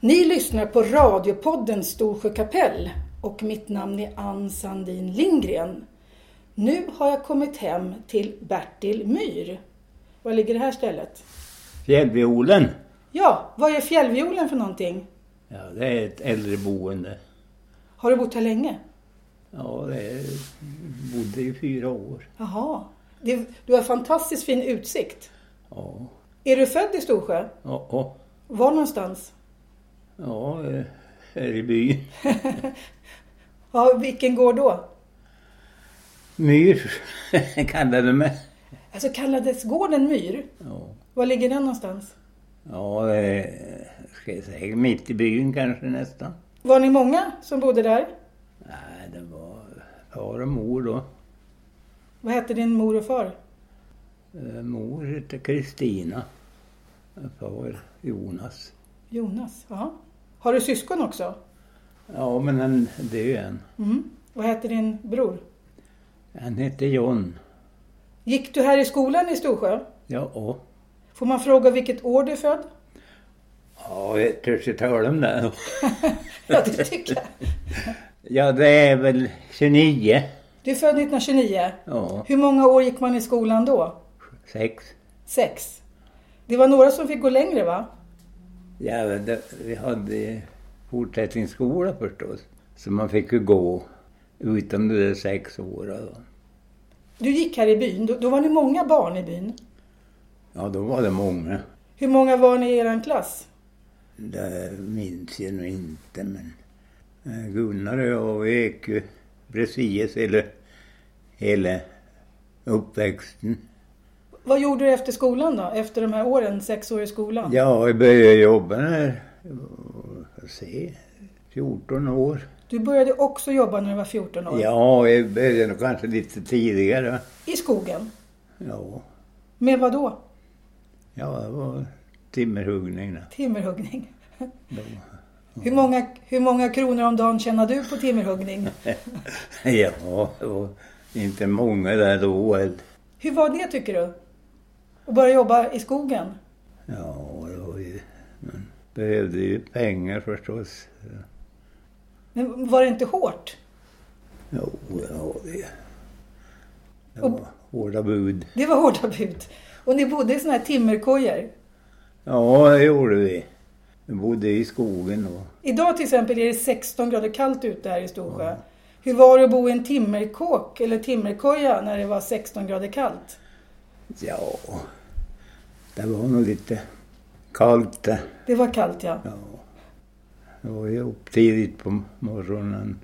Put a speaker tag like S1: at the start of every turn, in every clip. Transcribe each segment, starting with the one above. S1: Ni lyssnar på radiopodden Storsjö kapell och mitt namn är Ann Sandin Lindgren. Nu har jag kommit hem till Bertil Myr. Var ligger det här stället?
S2: Fjällviolen,
S1: Ja, vad är fjällviolen för någonting?
S2: ja det är ett äldreboende.
S1: Har du bott här länge?
S2: Ja, det är, bodde i fyra år.
S1: Jaha. Det, du har fantastiskt fin utsikt.
S2: Ja,
S1: Är du född i Storsjö?
S2: ja, ja,
S1: Var någonstans?
S2: ja eh, här i byn.
S1: Ja, vilken gård då?
S2: Myr kallade de mig.
S1: Alltså kallades gården Myr?
S2: Ja,
S1: Var ligger den någonstans?
S2: ja det är, ska jag säga, mitt i byn kanske nästan.
S1: Var ni många som bodde där?
S2: Nej, det var far och mor då.
S1: Vad hette din mor och far?
S2: Eh, Mor hette Kristina. Far Jonas.
S1: Jonas, ja. Har du syskon också?
S2: Ja, men han död än.
S1: Mm. Vad hette din bror?
S2: Han hette John.
S1: Gick du här i skolan i Storsjö?
S2: Ja, ja.
S1: Får man fråga vilket år du är född?
S2: Ja, jag törs ju tala om det.
S1: Ja, det tycker jag.
S2: Ja, det är väl 29.
S1: Du är född 1929.
S2: Ja,
S1: Hur många år gick man i skolan då?
S2: sex.
S1: Sex. Det var några som fick gå längre va?
S2: Ja, men det, vi hade fortsättningsskola förstås. Så man fick ju gå utom de där sex åren. då.
S1: Du gick här i byn, då, då var ni många barn i byn.
S2: Ja, då var det många.
S1: Hur många var ni i eran klass?
S2: Det minns jag nog inte, men eh, Gunnar och jag vi gick ju precis hela, hela uppväxten.
S1: Vad gjorde du efter skolan då? Efter de här åren, sex år i skolan?
S2: Ja, jag började jobba när jag var, se, 14 år.
S1: Du började också jobba när du var 14 år?
S2: Ja, jag började nog kanske lite tidigare.
S1: I skogen?
S2: Ja,
S1: Med vad då?
S2: ja det var timmerhuggning då.
S1: Timmerhuggning?
S2: Då-
S1: Hur många, hur många kronor om dagen tjänar du på timmerhuggning?
S2: Ja, det var inte många där då. eller-
S1: Hur var det tycker du? Att börja jobba i skogen?
S2: Ja, det var ju... Man behövde ju pengar förstås.
S1: Men var det inte hårt?
S2: Jo, ja, det... Det
S1: Och-
S2: var hårda bud.
S1: Det var hårda bud. Och ni bodde i såna här timmerkojor.
S2: Ja, det gjorde vi. Vi bodde i skogen då.
S1: Idag till exempel är det 16 grader kallt ute här i Storsjö. Hur var det att bo i en timmerkåk eller timmerkoja när det var 16 grader kallt?
S2: Ja, det var nog lite kallt det.
S1: Det var kallt ja.
S2: Ja. Jag var ju upp tidigt på morgonen.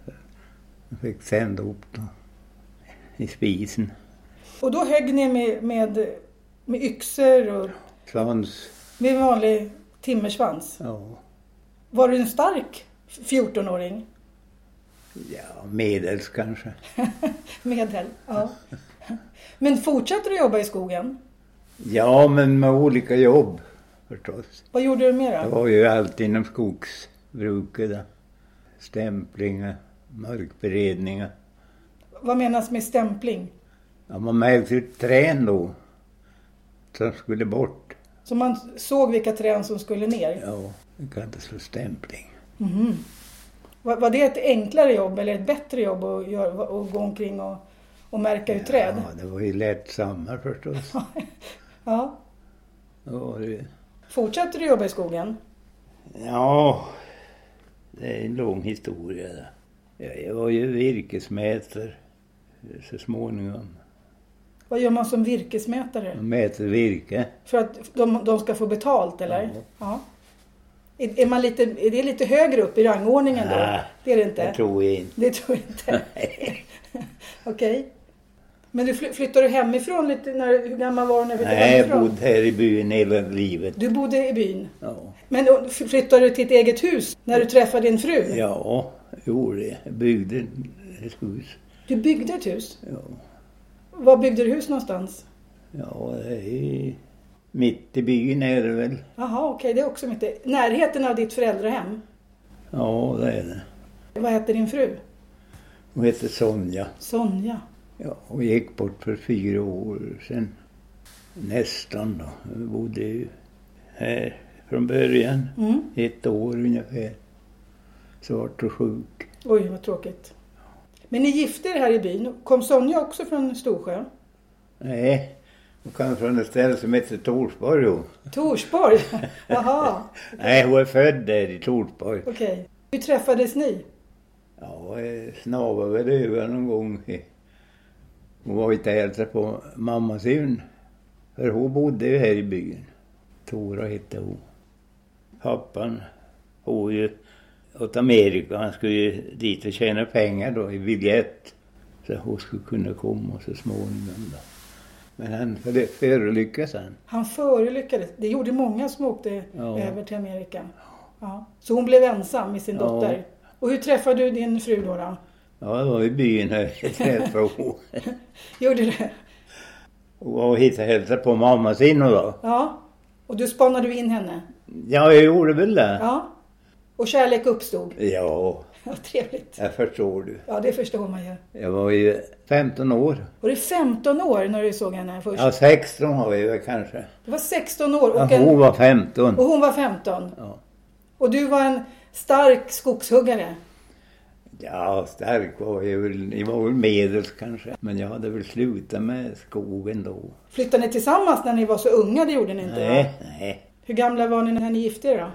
S2: Jag fick sända upp då. I spisen.
S1: Och då högg ni med, med, med yxor och
S2: Svans.
S1: med vanlig timmersvans.
S2: Ja.
S1: Var du en stark 14-åring?
S2: ja, medels kanske.
S1: Medel, ja. Men fortsatte du jobba i skogen?
S2: Ja, men med olika jobb förstås.
S1: Vad gjorde du mer
S2: Jag
S1: då?
S2: var ju alltid inom skogsbruket. Då. Stämplingar, markberedningar.
S1: Vad menas med stämpling?
S2: Ja, man märkte ju träd då. Som skulle bort.
S1: Så man såg vilka träd som skulle ner? Mhm.
S2: Ja, det kallades för stämpling.
S1: Var, var det ett enklare jobb eller ett bättre jobb att, göra, att gå omkring och, och märka ut träd?
S2: Ja, det var ju lättsammare förstås.
S1: Ja.
S2: Ja, det-
S1: Fortsatte du jobba i skogen?
S2: Ja, det är en lång historia det. Ja, Jag var ju virkesmätare så småningom.
S1: Vad gör man som virkesmätare?
S2: Man mäter virke.
S1: För att de, de ska få betalt eller?
S2: Ja.
S1: Ja. Är, är, man lite, är det lite högre upp i rangordningen då?
S2: Nej,
S1: det är det inte?
S2: Det tror jag inte.
S1: Det tror jag inte. Okej. Men du fly- flyttade du hemifrån lite? När, hur gammal var du när du flyttade
S2: Nej, jag
S1: hemifrån?
S2: bodde här i byn hela livet.
S1: Du bodde i byn.
S2: Ja,
S1: Men då f- flyttade du till ett eget hus när du träffade din fru?
S2: ja jag gjorde det. Jag byggde ett hus.
S1: Du byggde ett hus.
S2: Ja,
S1: Var byggde du hus någonstans?
S2: ja det är mitt i byn är det väl.
S1: Jaha, okej, det är också mitt i- Närheten av ditt föräldrahem.
S2: Ja, det är det.
S1: Vad hette din fru?
S2: Hon heter Sonja.
S1: Sonja.
S2: Ja, hon gick bort för fyra år sedan. Nästan då. Hon bodde ju här från början.
S1: Mm.
S2: Ett år ungefär. Så vart jag sjuk.
S1: Oj, vad tråkigt. Men ni gifte er här i byn. Kom Sonja också från Storsjö?
S2: Nej, hon kom från ett ställe som heter Torsborg. hon.
S1: Torsborg? Jaha,
S2: Nej, hon är född där i Torsborg.
S1: okej. Hur träffades ni?
S2: Ja, jag snavade väl över någon gång. Hon var inte hälsa på mamma sin. För hon bodde ju här i byn. Tora hette hon. Pappan for ju åt Amerika. Han skulle ju dit och tjäna pengar då i biljett. Så hon skulle kunna komma så småningom då. Men han före- förolyckades han.
S1: Han förolyckades. Det gjorde många som åkte
S2: Ja.
S1: över till Amerika. Ja. Så hon blev ensam med sin
S2: Ja.
S1: dotter. Och hur träffade du din fru då? då?
S2: Ja, det var i byn här jag träffade hon.
S1: Gjorde det?
S2: Hon var och hittade hälsa på mamma sin och då.
S1: Ja. Och du spanade in henne?
S2: Ja, jag gjorde väl det.
S1: Ja. Och kärlek uppstod?
S2: Ja,
S1: Ja, trevligt.
S2: jag förstår du.
S1: Ja, det förstår man ju.
S2: Jag var ju 15 år.
S1: Var du 15 år när du såg henne först?
S2: Ja, 16 var jag väl kanske.
S1: Du var 16 år
S2: Ja,
S1: och,
S2: hon
S1: en,
S2: var 15.
S1: och hon var 15.
S2: Ja.
S1: Och du var en stark skogshuggare.
S2: ja, stark var jag väl. Jag var väl medels kanske. Men jag hade väl slutat med skogen då.
S1: Flyttade ni tillsammans när ni var så unga? Det gjorde ni inte? va?
S2: Nej, nej.
S1: Hur gamla var ni när ni gifte er då?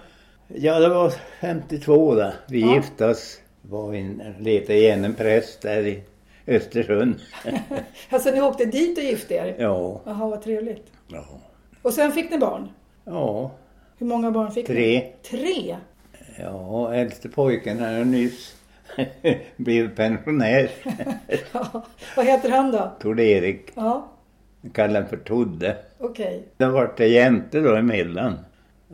S2: Ja, det var 52 då. Vi
S1: Ja.
S2: gifte oss. Var in, letade igen en präst där i Östersund.
S1: Alltså ni åkte dit och gifte er?
S2: ja.
S1: Jaha, vad trevligt.
S2: ja.
S1: Och sen fick ni barn?
S2: Ja,
S1: Hur många barn fick ni?
S2: tre.
S1: Tre?
S2: Ja, äldste pojken har nyss blivit pensionär.
S1: Ja. Vad heter han då?
S2: Tord-Erik.
S1: Ja,
S2: Jag kallade den för Todde.
S1: okej.
S2: Det vart det jämte då emellan.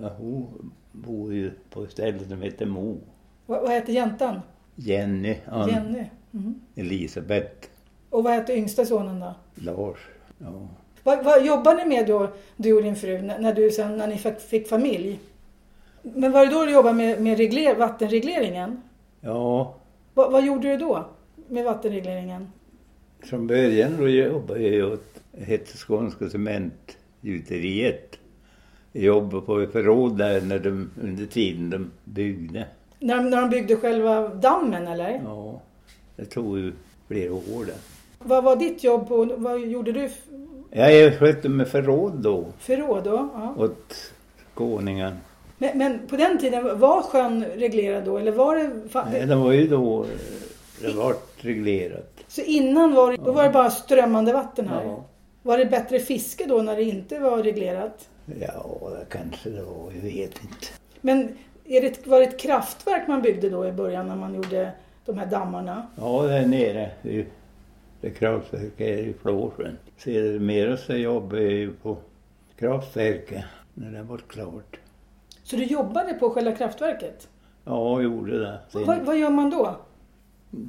S2: Ja, hon bor ju på ett ställe som heter Mo.
S1: Vad, vad heter jäntan?
S2: Jenny, Ann,
S1: Jenny. Mhm.
S2: Elisabeth,
S1: Och vad heter yngsta sonen då?
S2: Lars. Ja.
S1: Vad, vad jobbade ni med då, du och din fru, när, när, du sen, när ni fick, fick familj? Men var det då du jobbade med, med regler, vattenregleringen?
S2: ja,
S1: Vad- vad gjorde du då med vattenregleringen?
S2: från början då jobbade jag åt hette Skånska Cementgjuteriet. Jag jobbade på ett förråd där när de, under tiden de byggde.
S1: När, när de byggde själva dammen eller?
S2: Ja, det tog ju flera år det.
S1: Vad var ditt jobb på, vad gjorde du f-
S2: Jag skötte med förråd då
S1: förråd då? Ja.
S2: åt skåningarna.
S1: Men, men på den tiden, var sjön reglerad då? Eller var det, fa-
S2: Nej, det var ju då eh, det vart reglerat.
S1: Så innan var det, då var det bara strömmande vatten här?
S2: Ja.
S1: Var det bättre fiske då när det inte var reglerat?
S2: Ja, det kanske det var. Jag vet inte.
S1: Men är det, ett- var det ett kraftverk man byggde då i början när man gjorde de här dammarna?
S2: Ja, där nere i det kraftverket är i Flåsjön. Sedermera så jobbade jag ju på kraftverket när det var klart.
S1: Så du jobbade på själva kraftverket?
S2: Ja, jag gjorde det.
S1: Vad, vad gör man då?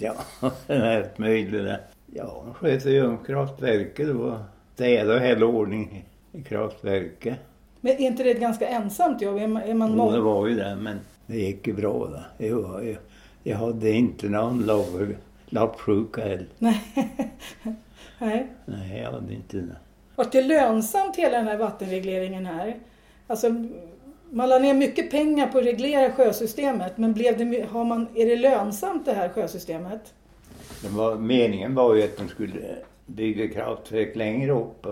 S2: Ja, det är allt möjligt det. Ja, de sköter ju om kraftverket då. Städa och hälla ordning i kraftverket.
S1: Men är inte det ett ganska ensamt jobb? Är man, är man
S2: Jo, det
S1: många?
S2: var ju det, men det gick ju bra. Då. Jag, var, jag, jag hade inte någon lapp- lappsjuka heller.
S1: Nej. Nej.
S2: Nej, jag hade inte det.
S1: Vart det lönsamt hela den här vattenregleringen här? Alltså, man la ner mycket pengar på att reglera sjösystemet, men blev det, my- har man, är det lönsamt det här sjösystemet?
S2: det var, meningen var ju att de skulle bygga kraftverk längre upp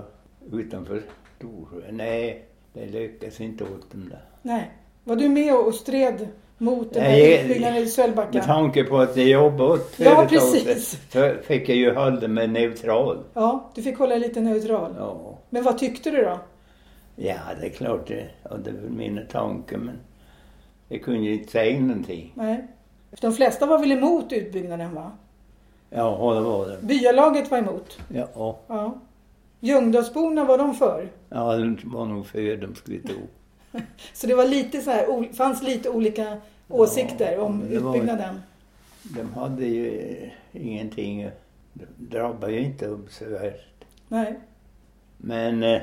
S2: utanför Storsjö. Nej, det lyckades inte åt dem där.
S1: Nej. Var du med och stred mot den här
S2: Nej, jag-
S1: utbyggnaden i
S2: Med
S1: Sölvbacka?
S2: tanke på att jag jobbade åt
S1: Ja,
S2: företaget
S1: precis.
S2: så fick jag ju hålla mig neutral.
S1: Ja, du fick hålla lite neutral.
S2: Ja,
S1: Men vad tyckte du då?
S2: ja det är klart det. Ja, det var mina tankar, men jag kunde ju inte säga någonting.
S1: Nej. De flesta var väl emot utbyggnaden va?
S2: Ja, det var det.
S1: Byalaget var emot.
S2: Ja,
S1: Ja. Ljungdalsborna var de för.
S2: ja det var nog för de skulle tro.
S1: Så det var lite så här, o- fanns lite olika åsikter
S2: Ja,
S1: om
S2: men det var-
S1: utbyggnaden.
S2: De hade ju eh, ingenting, de drabbade ju inte upp så värst.
S1: Nej.
S2: Men eh,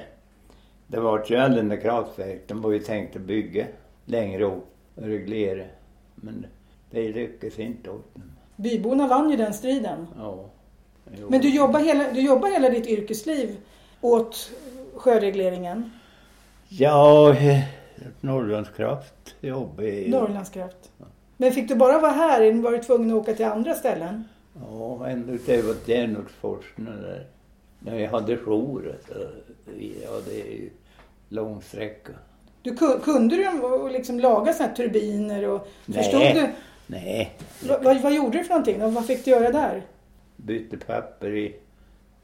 S2: det var ju aldrig några kraftverk, de var ju tänkt att bygga längre upp och reglera. Men det lyckades inte åt dem.
S1: Byborna vann ju den striden.
S2: Ja. Jo.
S1: Men du jobbar hela, du jobbar hela ditt yrkesliv åt sjöregleringen.
S2: Ja, eh, Norrlandskraft jobbade i.
S1: Norrlandskraft. Men fick du bara vara här eller var du tvungen att åka till andra ställen?
S2: Ja, ända ut över till Järnhultsforsen och där. När jag hade jour. alltså, vi hade ju lång sträcka.
S1: Du, ku- kunde du och liksom laga sådana här turbiner och förstod
S2: Nej.
S1: du?
S2: Nej,
S1: Va, vad- vad gjorde du för någonting? då? Vad fick du göra där?
S2: bytte papper i...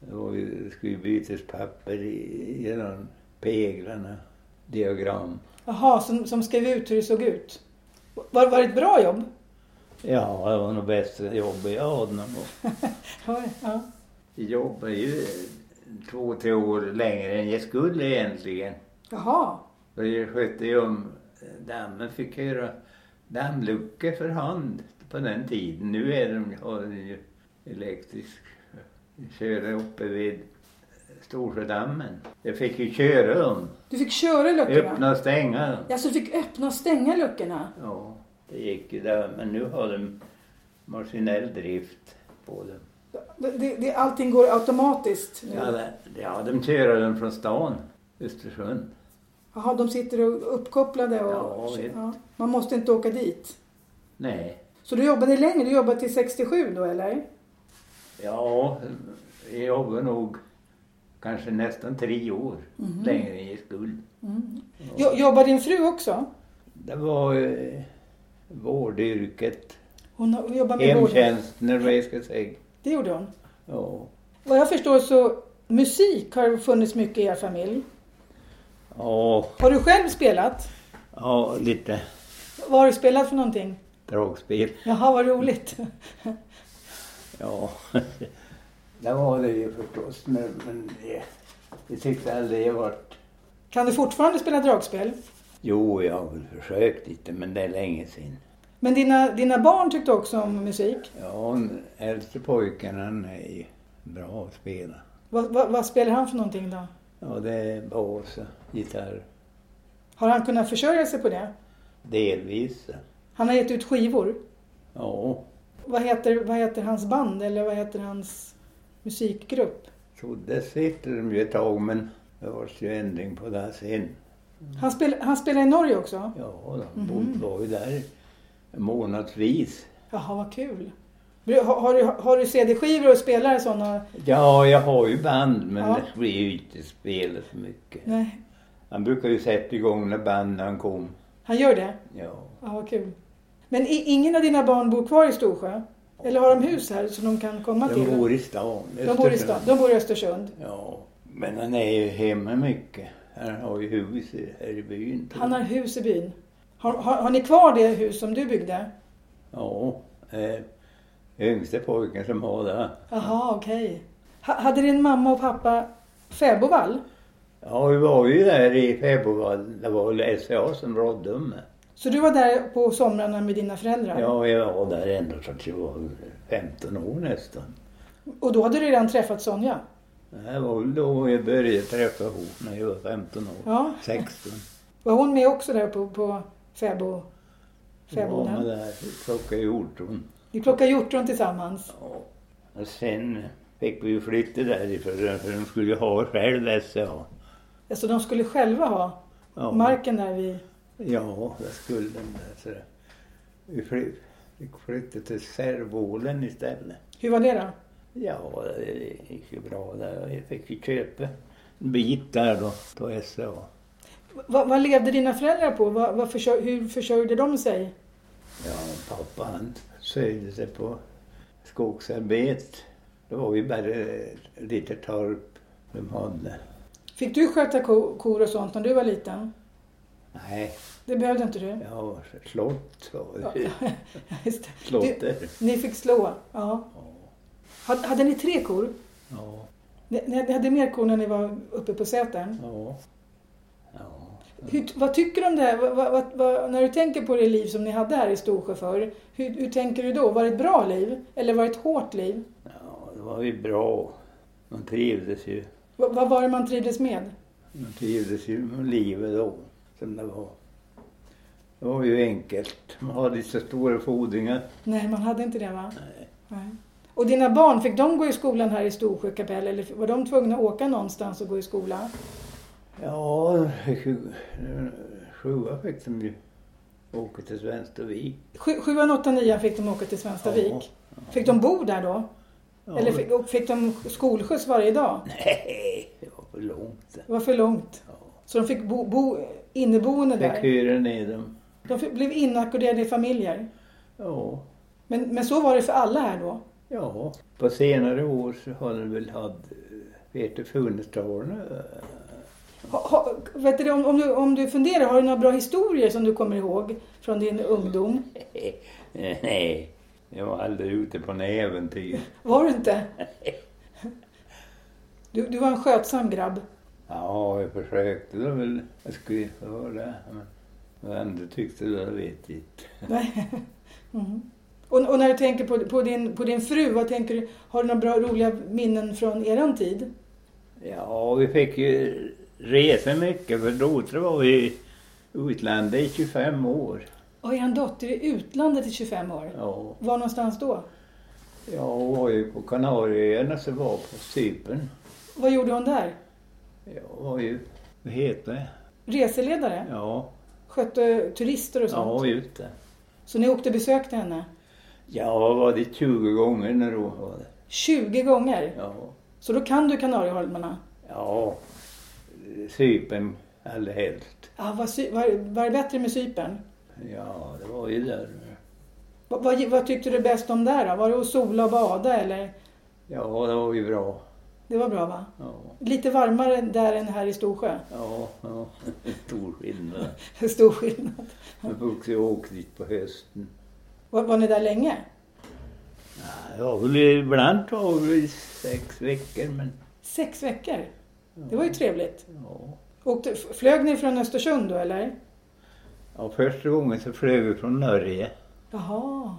S2: Det var ju- skulle bytas papper i, genom peglarna. Diagram.
S1: Jaha, som, som skrev ut hur det såg ut. Var, var det ett bra jobb?
S2: Ja, det var nog bästa jobbet jag hade någon gång.
S1: Ja, ja.
S2: Jag jobbade ju två, tre år längre än jag skulle egentligen.
S1: Jaha,
S2: Och jag skötte ju om eh, dammen, fick jag göra dammluckor för hand på den tiden. Nu är de, har de ju elektrisk. Jag körde uppe vid Storsjödammen. Jag fick ju köra dem,
S1: du fick köra luckorna?
S2: öppna och stänga dem.
S1: Ja, så du fick öppna och stänga luckorna?
S2: Ja, det gick ju där. Men nu har de maskinell drift på dem.
S1: Det, det, det, allting går automatiskt nu?
S2: Ja, de- ja de kör den från stan, Östersund.
S1: Jaha, de sitter och uppkopplade och...
S2: Ja, visst.
S1: man måste inte åka dit.
S2: Nej,
S1: Så du jobbade länge? Du jobbade till 67 då eller?
S2: Ja, jag jobbade nog kanske nästan tre år längre än jag skulle.
S1: Mm. Jo, jobbar din fru också?
S2: Det var eh, vårdyrket,
S1: Hon har- hon jobbar med vård.
S2: hemtjänsten eller vad jag ska säga.
S1: Det gjorde hon.
S2: Ja,
S1: Vad jag förstår så musik har funnits mycket i er familj.
S2: ja,
S1: Har du själv spelat?
S2: ja lite
S1: Vad har du spelat för någonting?
S2: dragspel.
S1: Jaha, vad roligt.
S2: Ja, det var det ju förstås. Men, men det, jag tyckte aldrig jag varit...
S1: Kan du fortfarande spela dragspel?
S2: Jo, jag har väl försökt lite, men det är länge sedan.
S1: Men dina, dina barn tyckte också om musik.
S2: Ja, den äldste pojken han är ju bra att spela.
S1: Vad, vad, vad spelar han för någonting då?
S2: Ja, det är bas och gitarr.
S1: Har han kunnat försörja sig på det?
S2: Delvis.
S1: Han har gett ut skivor.
S2: Ja,
S1: Vad heter, vad heter hans band eller vad heter hans musikgrupp?
S2: så där sitter de ju ett tag men det var ju ändring på det sen.
S1: Han, spel, han spelar i Norge också?
S2: Ja, de bodde
S1: Mhm.
S2: var ju där månadsvis.
S1: Jaha, vad kul. Har, har, du, har du CD-skivor och spelar sådana?
S2: Ja, jag har ju band men
S1: Ja.
S2: det blir ju inte spelat så mycket.
S1: Nej,
S2: Han brukar ju sätta igång när band när han kom.
S1: han gör det?
S2: Ja.
S1: Ja, vad kul. Men i, ingen av dina barn bor kvar i Storsjö? Eller har de hus här som de kan komma till?
S2: De bor i stan.
S1: de bor i
S2: Östersund.
S1: stan. De bor i Östersund.
S2: Ja, men han är ju hemma mycket. Han har ju hus i- här i byn.
S1: Han har hus i byn. Har, har, har ni kvar det hus som du byggde?
S2: Ja, eh, yngste pojken som har det.
S1: Jaha, okej. Ha, hade din mamma och pappa fäbodvall?
S2: Ja, vi var ju där i Fäbodvall. Det var väl SCA som rådde om det.
S1: Så du var där på somrarna med dina föräldrar?
S2: Ja, jag var där ända tills jag var 15 år nästan.
S1: Och då hade du redan träffat Sonja?
S2: Det var väl då jag började träffa hon när jag var 15 år.
S1: Ja.
S2: 16.
S1: Var hon med också där på, på fäbo,
S2: Jag var med
S1: fäboden?
S2: där och plockade hjortron.
S1: Ni plockade hjortron tillsammans?
S2: Ja. Och sen fick vi ju flytta därifrån för de skulle ju ha själv SCA.
S1: Alltså de skulle själva ha
S2: Ja.
S1: marken där vid...
S2: Ja, det skulle den där. Så det- vi fly- fick flytta till Särvålen istället.
S1: Hur var det då?
S2: Ja, det gick ju bra där. Jag fick ju köpa en bit där då, på SCA.
S1: Vad, vad levde dina föräldrar på? Vad, vad försör, hur försörjde de sig?
S2: Ja, pappa han sökte sig på skogsarbete. Det var ju bara lite torp de hade.
S1: Fick du sköta ko, kor och sånt när du var liten?
S2: Nej,
S1: Det behövde inte du?
S2: ja, slott var det ju.
S1: Just det.
S2: Slottet.
S1: Ni fick slå? Ja. Hade, hade ni tre kor?
S2: Ja,
S1: Ni, ni ni hade mer kor när ni var uppe på Sätern?
S2: ja, ja.
S1: Hur, vad tycker du om det här? Vad, vad, vad, vad, när du tänker på det liv som ni hade här i Storsjö förr, hur, hur tänker du då? Var det ett bra liv? Eller var det ett hårt liv?
S2: Ja, det var ju bra. Man trivdes ju.
S1: Vad, vad var det man trivdes med?
S2: Man trivdes ju med livet då, som det var. Det var ju enkelt. Man hade inte så stora fordringar.
S1: Nej, man hade inte det va?
S2: Nej.
S1: Nej. Och dina barn, fick de gå i skolan här i Storsjö kapell eller var de tvungna att åka någonstans och gå i skola?
S2: Ja, jag fick ju sjua fick de ju åka till Svenstavik.
S1: Sju- Sjuan, åttan, nian fick de åka till Svenstavik. Fick de bo där då?
S2: Ja,
S1: Eller fick, och fick de skolskjuts varje dag?
S2: Nej, det var för långt.
S1: Det var för långt.
S2: Ja.
S1: Så de fick bo, bo inneboende
S2: Fick
S1: där.
S2: hyra ner dem.
S1: De fick, blev inackorderade i familjer.
S2: Ja,
S1: Men, men så var det för alla här då.
S2: ja. På senare år så har de väl haft, eh, vet du, Funäsdalen. eh,
S1: Ha, ha, vet du, det, om, om, du, om du funderar, har du några bra historier som du kommer ihåg från din ungdom?
S2: Nej, jag var aldrig ute på några äventyr.
S1: Var du inte? Du, du var en skötsam grabb.
S2: Ja, jag försökte då väl. Jag skulle göra det. Men vad ändå tyckte då, jag vet inte.
S1: Nej. Mhm. Och, och när du tänker på, på, din, på din fru, vad tänker du? Har du några bra, roliga minnen från eran tid?
S2: Ja, vi fick ju resa mycket för Dotre var vi i utlandet i 25 år.
S1: Och eran dotter i utlandet i 25 år.
S2: Ja,
S1: Var någonstans då?
S2: jag var ju på Kanarieöarna så var på Cypern.
S1: Vad gjorde hon där?
S2: Jag var ju, vad heter det?
S1: Reseledare?
S2: Ja,
S1: Skötte turister och
S2: jag
S1: sånt?
S2: var ute.
S1: Så ni åkte och besökte henne?
S2: Ja, var det 20 gånger när då var det.
S1: 20 gånger?
S2: Ja,
S1: Så då kan du Kanarieholmarna?
S2: ja. Cypern allra helst.
S1: Ah, vad, sy- vad, vad är bättre med Cypern?
S2: Ja, det var ju där.
S1: Vad, vad, vad tyckte du bäst om där då? Var det att sola och bada eller?
S2: Ja, det var ju bra.
S1: Det var bra va?
S2: Ja,
S1: Lite varmare där än här i Storsjö.
S2: ja, ja. stor skillnad.
S1: Stor skillnad.
S2: Jag brukade ju åka dit på hösten.
S1: Var, var ni där länge?
S2: Ja, det var väl ibland tog det sex veckor, men...
S1: Sex veckor? Det var ju trevligt.
S2: Ja.
S1: Åkte, f- flög ni från Östersund då eller?
S2: ja, första gången så flög vi från Norge.
S1: Jaha.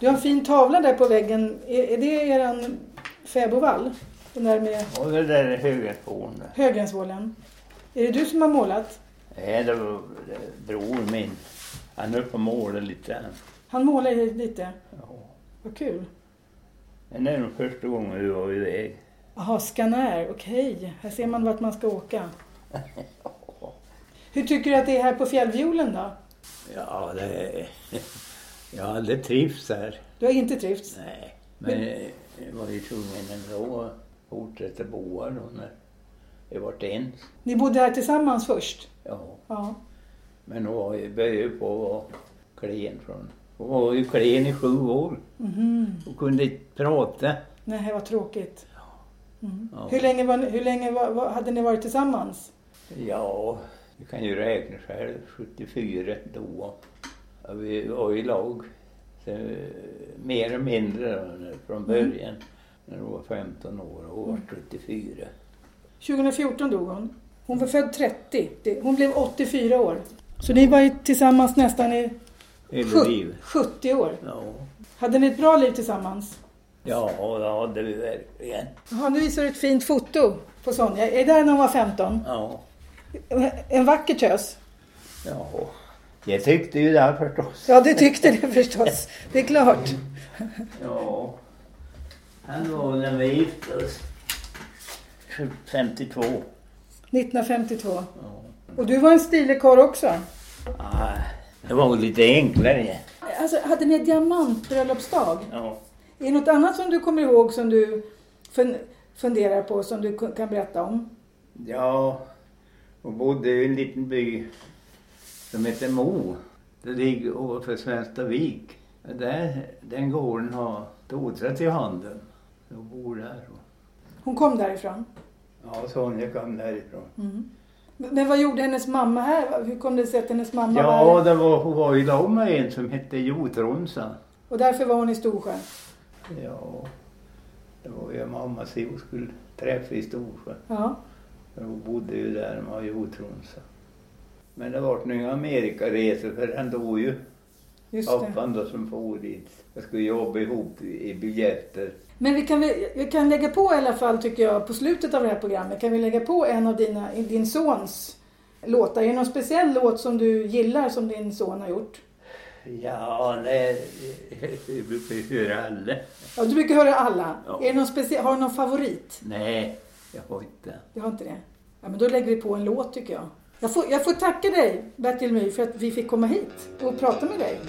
S1: Du har en fin tavla där på väggen. Är, är det eran fäbodvall? Den där med
S2: Ja, det där är högerspån.
S1: Högränsvålen. Är det du som har målat?
S2: Nej, det var det är bror min. Han höll på och målade lite. grann.
S1: Han målar ju lite.
S2: Ja.
S1: Vad kul.
S2: Men det är nog första gången vi var iväg.
S1: Jaha, Scanair, okej. Här ser man vart man ska åka. Hur tycker du att det är här på fjällviolen då?
S2: Ja, det... är- Jag har aldrig trivts här.
S1: Du har inte trivts?
S2: Nej, men jag var ju tvungen ändå att fortsätta bo här då när jag vart ens.
S1: Ni bodde här tillsammans först?
S2: Ja.
S1: Ja.
S2: Men hon var ju, började ju på att vara klen från... Hon var ju klen i sju år
S1: Mhm.
S2: och kunde inte prata.
S1: Nej, vad tråkigt. Mm.
S2: Ja.
S1: Hur länge, var, ni- hur länge var, var, hade ni varit tillsammans?
S2: Ja, du kan ju räkna själv. 74 då. Ja, Vi var i lag. Så, eh, mer och mindre då, när- från början. När hon var 15 år och hon var 74.
S1: 2014 dog hon. Hon var född 30. Det- Hon blev 84 år. Så ni var ju tillsammans nästan i
S2: Hela
S1: sjut-
S2: livet.
S1: 70 år.
S2: Ja.
S1: Hade ni ett bra liv tillsammans?
S2: ja, det hade vi verkligen.
S1: Jaha, nu visar du ett fint foto på Sonja. Är det där när hon var 15?
S2: Ja.
S1: En vacker tös.
S2: ja. Jag tyckte ju det förstås.
S1: Ja, det tyckte det förstås. Det är klart.
S2: Ja. Han var när vi gifte oss 52.
S1: 1952.
S2: Ja.
S1: Och du var en stilig karl också.
S2: Ah, det var väl lite enklare.
S1: Alltså, hade ni ett diamantbröllopsdag?
S2: Ja.
S1: Är det något annat som du kommer ihåg som du fun- funderar på som du kun- kan berätta om?
S2: ja. Och bodde i en liten by som heter Mo. Det ligger ovanför Svenstavik. Där, den gården har Dotra till handen. Jag bor där.
S1: Hon kom därifrån.
S2: Ja, Sonja kom därifrån.
S1: Mm. Men men vad gjorde hennes mamma här? Hur kom det sig att hennes mamma var
S2: Ja,
S1: här?
S2: det var, hon var ju ihop med en som hette Jotronsa.
S1: Och därför var hon i Storsjö.
S2: Ja, det var ju mamma som hon skulle träffa i Storsjö.
S1: Ja.
S2: Men Hon bodde ju där, man var ju otrosa. Men det vart inga Amerikaresor för han dog ju.
S1: Just det.
S2: Pappan då som for dit. Jag skulle jobba ihop i i biljetter.
S1: Men vi kan, väl- vi kan lägga på i alla fall, tycker jag, på slutet av det här programmet kan vi lägga på en av dina, din sons låtar. Är det någon speciell låt som du gillar som din son har gjort?
S2: Ja, nej, vi brukar ju höra alla.
S1: Ja, du brukar höra alla.
S2: Ja.
S1: Är det någon speciell, har du någon favorit?
S2: Nej, jag har inte.
S1: Du har inte det? Ja, men då lägger vi på en låt tycker jag. Jag får, jag får tacka dig Bertil Myhr för att vi fick komma hit och prata med dig.